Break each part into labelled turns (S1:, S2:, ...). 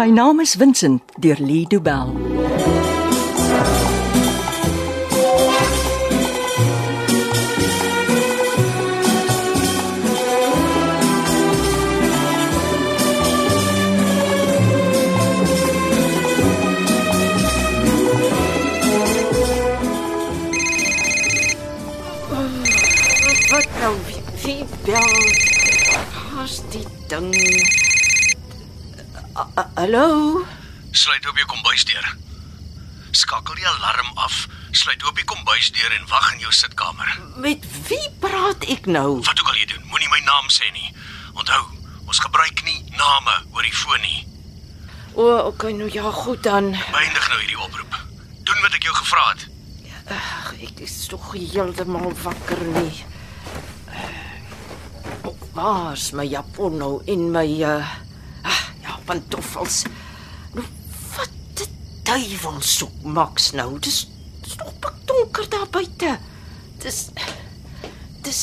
S1: My naam is Vincent deur Lee Du Bell.
S2: Wat nou? Wie, wie bel? Haas die ding. A- a- Hallo?
S3: Sluit op jou kombuisdeur. Skakel die alarm af. Sluit op die kombuisdeur en wag in jou sitkamer.
S2: Met wie praat ek nou?
S3: Wat ook al jy doen, moenie my naam sê nie. Onthou, ons gebruik nie name oor die foon nie.
S2: O, okay, nou ja, goed dan.
S3: Beëindig nou hierdie oproep. Doen wat ek jou gevra het.
S2: Ag, ek is tog heeltemal wakker nie. Eh, oh, Waar's my japon nou en my uh ah, ja, pantoffels? Nou, wat die duiwel soek Max nou? Dis dis nog pikdonker daar buite. Dis dis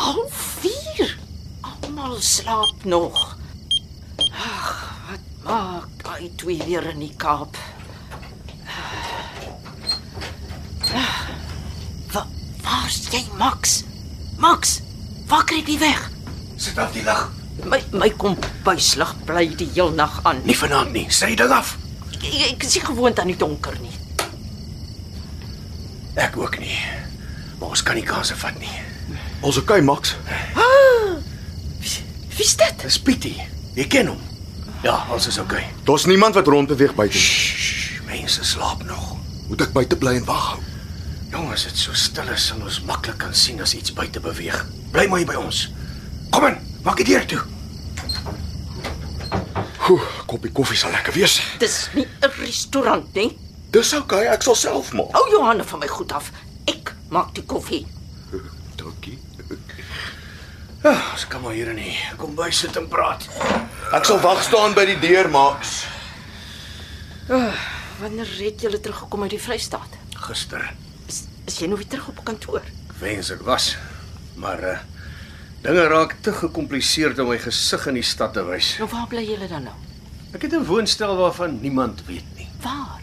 S2: half 4. Almal slaap nog. Ag, wat maak daai twee weer in die Kaap? Wa waar's jy, Max? Max, waar kry jy weg?
S3: Sit af die lig.
S2: My my kombuislig bly die heel nag aan.
S3: Nie vanaand nie. Sit die ding af.
S2: Ek, ek, ek is nie gewoond aan die donker nie.
S3: Ek ook nie. Maar ons kan nie kanse vat nie.
S4: Ons okay, Max.
S2: Wie's dit?
S3: Dis Pietie. Jy ken hom. Ja, ons is okay.
S4: Daar's niemand wat rondbeweeg buite nie.
S3: Shh, mense slaap nog.
S4: Moet ek buite bly en wag hou?
S3: Jong, as dit so stil is, sal ons maklik kan sien as iets buite beweeg. Bly maar hier by ons. Kom in, maak die deur toe.
S4: Oeh, koppie koffie sal lekker wees.
S2: Dis nie 'n restaurant nie.
S4: Dis okay, ek sal self maak.
S2: Hou jou hande van my goed af. Ek maak die koffie.
S4: Dankie.
S3: Ja, ons kan maar hier in die kombuis sit en praat.
S4: Ek sal wag staan by die deur, Max.
S2: Wanneer het jy teruggekom uit die Vrystaat?
S3: Gister,
S2: Is, is jy nou weer terug op kantoor?
S3: ek wens ek was, maar uh dinge raak te gekompliseerd om my gesig in die stad te wys.
S2: Nou waar bly jy dan nou?
S3: Ek het 'n woonstel waarvan niemand weet nie.
S2: Waar?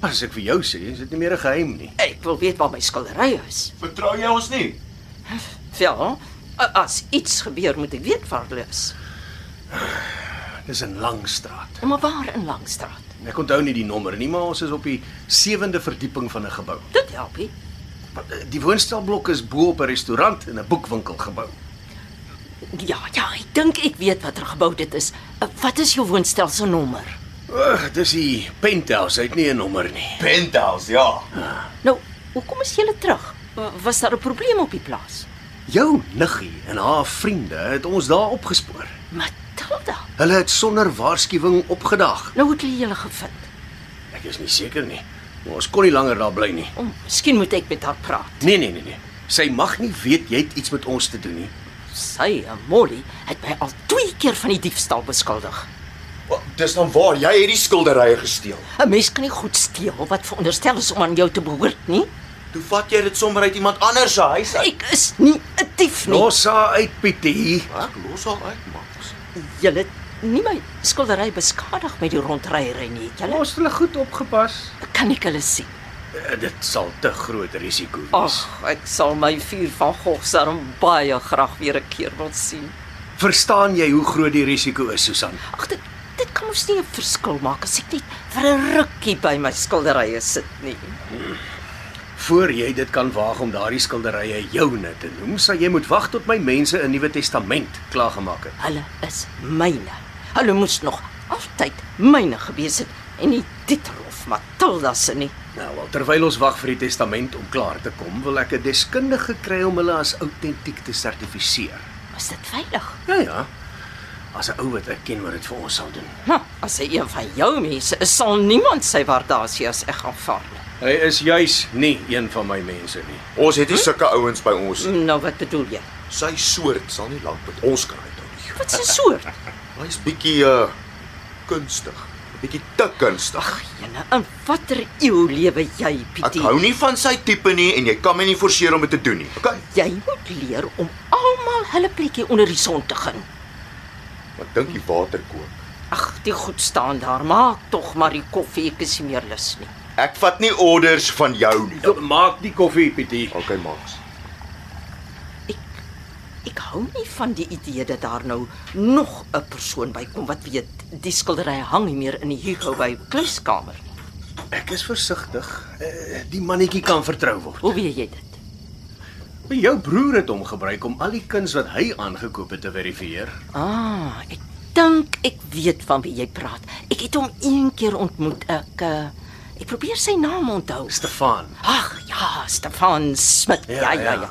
S3: As ek vir jou sê, is dit nie meer 'n geheim nie.
S2: Ek wil weet waar my skildery is.
S4: Vertrou jy ons nie?
S2: Wel, a- as iets gebeur, moet ek weet waar dit is.
S3: Dis in Langstraat.
S2: Maar waar in Langstraat?
S3: Ek onthou nie die nommer nie, maar ons is op die 7de verdieping van 'n gebou.
S2: Dit help nie.
S3: Die woonstelblok is bo op 'n restaurant en 'n boekwinkel gebou.
S2: Ja, ja, ek dink ek weet watter gebou dit is. Uh, Wat is jou woonstel se nommer?
S3: Ag, dis die penthouse, hy het nie 'n nommer nie.
S4: Penthouse, ja.
S2: Nou, hoekom is jy terug? Uh, Was daar 'n probleem op die plaas?
S3: Jou niggie en haar vriende het ons daar opgespoor.
S2: Matilda.
S3: Hulle het sonder waarskuwing opgedaag.
S2: Nou het hulle julle gevind.
S3: Ek is nie seker nie, maar ons kon nie langer daar bly nie.
S2: O, oh, miskien moet ek met haar praat.
S3: Nee, nee, nee, nee. Sy mag nie weet jy het iets met ons te doen nie.
S2: Sy, en Molly, het my al twee keer van die diefstal beskuldig.
S4: Wel, Dis dan waar jy hierdie skilderye gesteel.
S2: 'n Mens kan nie goed steel wat veronderstel is om aan jou te behoort nie.
S4: Toe vat jy dit sommer uit iemand anders se huis
S2: Ek is nie 'n dief nie.
S3: Los haar uit, Pietie.
S4: Ek los haar uit, Max.
S2: Julle het nie my skildery beskadig met die rondryery nie. het Julle
S3: Ons het hulle goed opgepas.
S2: kan ek hulle sien.
S3: Eh, Dit sal te groot risiko
S2: Ag,
S3: wees.
S2: ek sal my vuur van Gogsarm baie graag weer 'n keer wil sien.
S3: Verstaan jy hoe groot die risiko is, Susan?
S2: Ag, dit dit kan mos nie 'n verskil maak as ek net vir 'n rukkie by my skilderye sit nie.
S3: Voor jy dit kan waag om daardie skilderye joune te noem, sal jy moet wag tot my mense 'n Nuwe Testament klaargemaak het.
S2: Hulle is myne. Hulle moes nog altyd myne gewees het en nie Dietrof Matilda se nie.
S3: Nou, wel, terwyl ons wag vir die testament om klaar te kom, wil ek 'n deskundige kry om hulle as outentiek te sertifiseer.
S2: Was dit veilig?
S3: Ja ja. As 'n ou wat ek ken wat dit vir ons sal doen.
S2: Nou, as hy een van jou mense is, sal niemand sy waardasie as ek gaan vaar nie.
S3: Hy is juis nie een van my mense nie.
S4: Ons het nie sulke ouens by ons.
S2: Nou, wat bedoel jy?
S4: Sy soort sal nie lank met ons kan uithou nie.
S2: Wat 'n soort?
S4: Hy's bietjie uh kunstig. Bietjie te kunstig.
S2: Jene, in watter eeu lewe jy,
S4: Ek
S2: Pietie?
S4: hou nie van sy tipe nie en jy kan my nie forceer om dit te doen nie. Okay.
S2: Jy moet leer om almal hulle plekkie onder die son te gun.
S4: Ek dink die water kook.
S2: Ag, die goed staan daar. Maak tog maar die koffie, ek is nie meer lus nie.
S4: Ek vat nie orders van jou nie.
S3: Ja, maak die koffie, Pietie.
S4: Okay, Max.
S2: Ek ek hou nie van die idee dat daar nou nog 'n persoon bykom wat weet die skildery hang nie meer in die Hugo by kluiskamer nie.
S3: Ek is versigtig. Eh, Die mannetjie kan vertrou word.
S2: Hoe weet jy dit?
S3: Maar jou broer het hom gebruik om al die kuns wat hy aangekoop het te verifieer.
S2: Ah, ek dink ek weet van wie jy praat. Ek het hom een keer ontmoet. Ek uh, ek probeer sy naam onthou.
S3: Stefan.
S2: Ag ja, Stefan Smit. Ja, ja,
S3: Ja,
S2: ja.
S3: ja.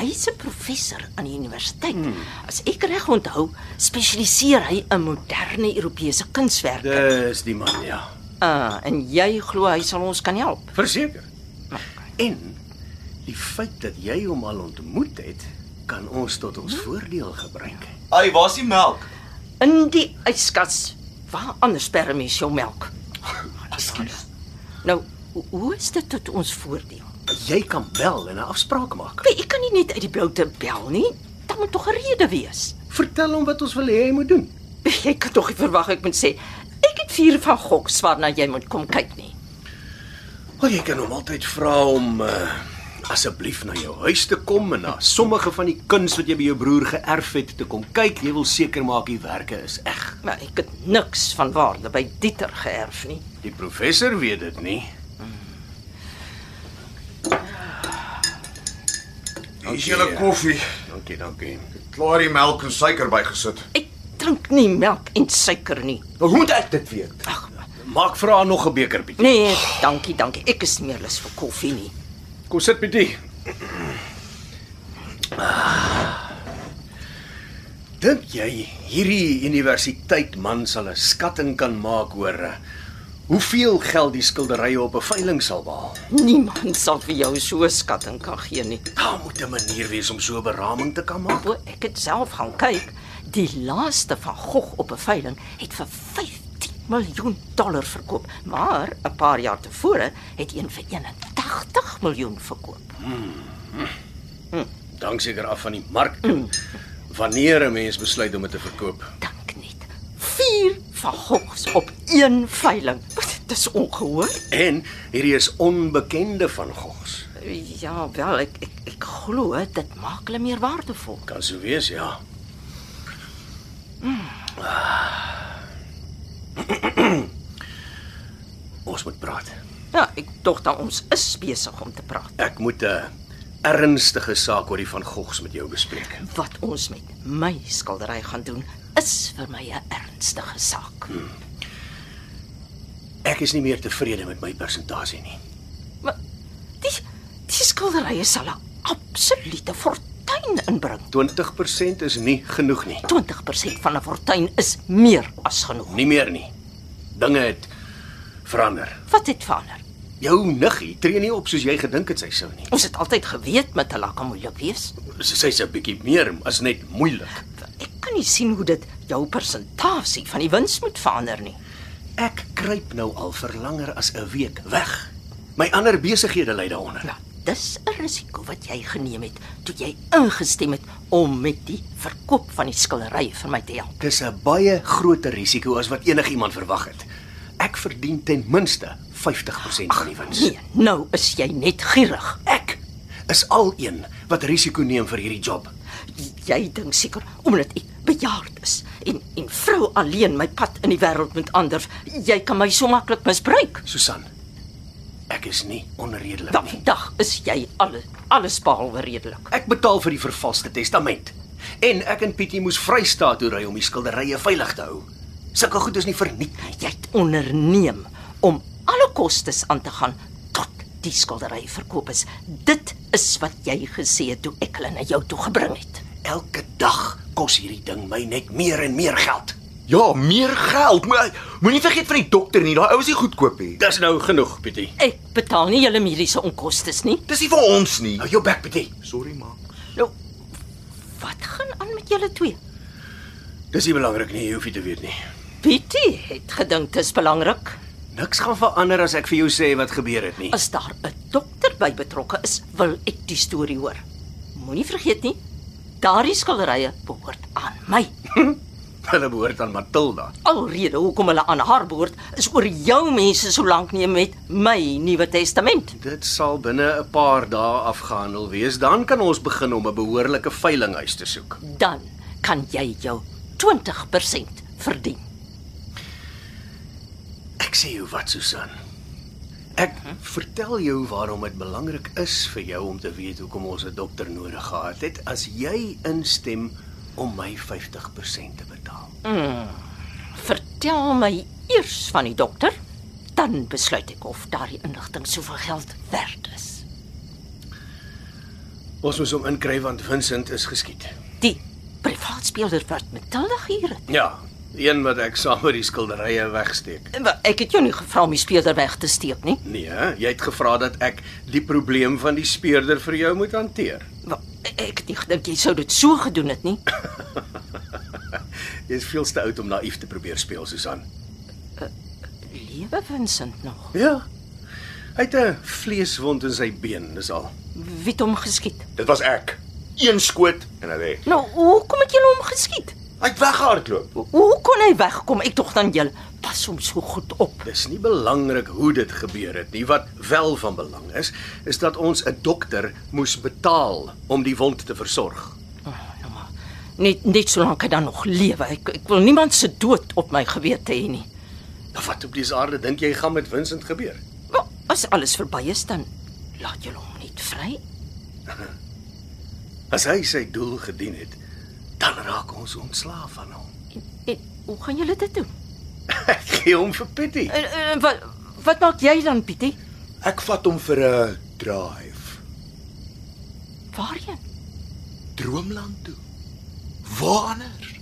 S2: Hy's 'n professor aan die universiteit. Hmm. As ek reg onthou, spesialiseer hy in moderne Europese kunswerke.
S3: Dis die man, ja.
S2: Ah, en jy glo hy sal ons kan help.
S3: Verseker. Nou, En die feit dat jy hom al ontmoet het, kan ons tot ons voordeel gebruik.
S4: Ai, waar's die melk?
S2: In die yskas. Waar anders per mens jou melk?
S3: Ekskuus.
S2: Nou, ho- hoe is dit tot ons voordeel?
S3: Jy kan bel en 'n afspraak maak.
S2: Wie, ek kan nie net uit die blou te bel nie. Daar moet tog 'n rede wees.
S3: Vertel hom wat ons wil hê hy moet doen.
S2: Jy kan tog nie verwag ek moet sê ek het vier van Goks waarna jy moet kom kyk nie.
S3: Wel Oh, jy kan hom altyd vra om uh, asseblief na jou huis te kom en na sommige van die kuns wat jy by jou broer geërf het te kom kyk. Jy wil seker maak die werke is eg.
S2: Maar ek het niks van waarde by Dieter geërf nie.
S3: Die professor weet dit nie.
S4: Hier is julle koffie.
S3: Dankie, dankie.
S4: Klaar die melk en suiker bygesit.
S2: Ek drink nie melk en suiker nie.
S4: Nou hoe moet ek dit weet?
S2: Ag,
S3: Maak vra nog 'n beker bietjie.
S2: nee, dankie, dankie. Ek is nie meer lus vir koffie nie.
S3: Kom sit bietjie. Dink jy hierdie universiteit man sal 'n skatting kan maak oor eh, hoeveel geld die skilderye op 'n veiling sal behaal?
S2: Niemand sal vir jou so 'n skatting kan gee nie.
S3: Daar moet 'n manier wees om so 'n beraming te kan maak.
S2: O, ek het self gaan kyk. Die laaste van Gogh op 'n veiling het vir 15 miljoen dollar verkoop, maar 'n paar jaar tevore het een vir 81 miljoen verkoop.
S3: Dank seker af van die mark. Wanneer 'n mens besluit om dit te verkoop.
S2: Dink net. 4 van Goghs op een veiling. Dit is ongehoord.
S3: En hierdie is onbekende van Gogs.
S2: Ja, wel, ek ek, ek glo dit maak hulle meer waardevol.
S3: Kan so wees, ja. Ah. Ons moet praat.
S2: Ja, ek dink dan ons is besig om te praat
S3: Ek moet 'n ernstige saak oor die van Gogs met jou bespreek.
S2: wat ons met my skildery gaan doen is vir my 'n ernstige saak.
S3: Ek is nie meer tevrede met my persentasie nie.
S2: Maar die die skilderye sal 'n absolute fortuin inbring.
S3: 20% is nie genoeg nie.
S2: 20% van 'n fortuin is meer as genoeg.
S3: Nie meer nie. Dinge het verander.
S2: Wat het verander?
S3: Jou niggie tree nie op soos jy gedink het sy sou nie.
S2: Ons het altyd geweet met hulle kan moeilik wees.
S3: S- Sy's 'n bietjie meer as net moeilik.
S2: Ek kan nie sien hoe dit jou persentasie van die wins moet verander nie.
S3: Ek kruip nou al vir langer as 'n week weg. My ander besighede lê daaronder.
S2: Nou, dis 'n risiko wat jy geneem het toe jy ingestem het om met die verkoop van die skilderye vir my te help.
S3: Dis 'n baie groter risiko as wat enigiemand verwag het. Ek verdien ten minste 50% van die wins.
S2: Nee, nou is jy net gierig.
S3: Ek is al een wat risiko neem vir hierdie job.
S2: Jy dink seker omdat ek bejaard is en en vrou alleen my pad in die wêreld moet anders. Jy kan my so maklik misbruik.
S3: Susan, ek is nie onredelik nie.
S2: Vandag is jy alles alles behalwe redelik.
S3: Ek betaal vir die vervalste testament en ek en Pietie moes vrystaat toe ry om die skilderye veilig te hou. Sulke goed is nie verniet nie.
S2: Jy het onderneem om alle kostes aan te gaan tot die skildery verkoop is. Dit is wat jy gesê het toe ek hulle na jou toe gebring het.
S3: Elke dag kos hierdie ding my net meer en meer geld.
S4: Ja, meer geld. Moe- Moenie vergeet van die dokter nie. Daai ou is nie goedkoop nie.
S3: Dis nou genoeg, Pietie.
S2: Ek betaal nie julle mediese onkoste nie.
S4: Dis nie vir ons nie.
S3: Hou Nou, jou bek, Pietie.
S4: Sorry, ma.
S2: Nou, wat gaan aan met julle twee?
S3: Dis nie belangrik nie, jy hoef nie te weet nie.
S2: Pietie het gedink dit is belangrik
S3: Niks gaan verander as ek vir jou sê wat gebeur het nie.
S2: as daar 'n dokter by betrokke is, wil ek die storie hoor. Moenie vergeet nie, daardie skilderye behoort aan my.
S3: Hulle behoort aan Matilda.
S2: Alrede hoekom hulle aan haar behoort is oor jou mense so lank nie met my Nuwe Testament.
S3: Dit sal binne 'n paar dae afgehandel wees. Dan kan ons begin om 'n behoorlike veilinghuis te soek.
S2: Dan kan jy jou 20% verdien.
S3: Ek sê jou wat, Susan. Ek vertel jou waarom dit belangrik is vir jou om te weet hoekom ons 'n dokter nodig gehad het as jy instem om my 50% te betaal.
S2: Vertel my eers van die dokter, dan besluit ek of daardie inligting soveel geld werd is.
S3: Ons moet hom inkry want Vincent is geskiet.
S2: Die privaatspeler wat Matilda hier het.
S3: Ja, een wat ek saam met die skilderye wegsteek.
S2: Wel, Eh, Ek het jou nie gevra om die speler weg te steek nie.
S3: Nee, hè? jy het gevra dat ek die probleem van die speurder vir jou moet hanteer.
S2: Wel, eh, Ek het nie gedink jy sou dit so gedoen het nie.
S3: Jy is veel te oud om naïef te probeer speel, Susan.
S2: Lewe Vincent nog.
S3: Ja. Hy het 'n vleeswond in sy been, dis al.
S2: Wie het hom geskiet?
S4: Dit was ek. Een skoot en hy lê.
S2: Nou, hoekom het julle hom geskiet?
S4: Hy't weggehardloop.
S2: Hoe kon hy wegkom? Ek dog dan julle pas hom so goed op.
S3: Dis nie belangrik hoe dit gebeur het nie. Wat wel van belang is, is dat ons 'n dokter moes betaal om die wond te versorg.
S2: Nou maar, net net solank hy dan nog lewe. Ek ek wil niemand se dood op my gewete hê nie.
S3: Nou wat op die aarde dink jy gaan met Vincent gebeur?
S2: Wel, as alles verby is dan laat julle hom net vry.
S3: As hy sy doel gedien het, dan raak ons ontslaaf van hom.
S2: En, en hoe gaan julle dit doen?
S3: Ek gee hom vir Pietie.
S2: En, en wat wat maak jy dan, Pietie?
S4: Ek vat hom vir 'n drive
S2: Waarheen?
S4: droomland toe. Waar anders?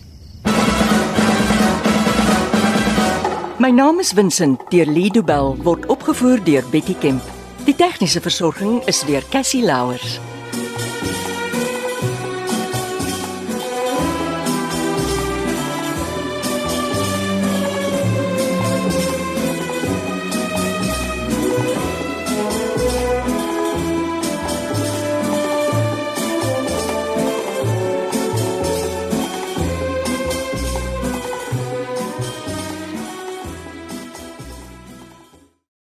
S1: My naam is Vincent deur Lido Bell word opgevoer deur Betty Kemp. Die tegniese versorging is deur Cassie Louers.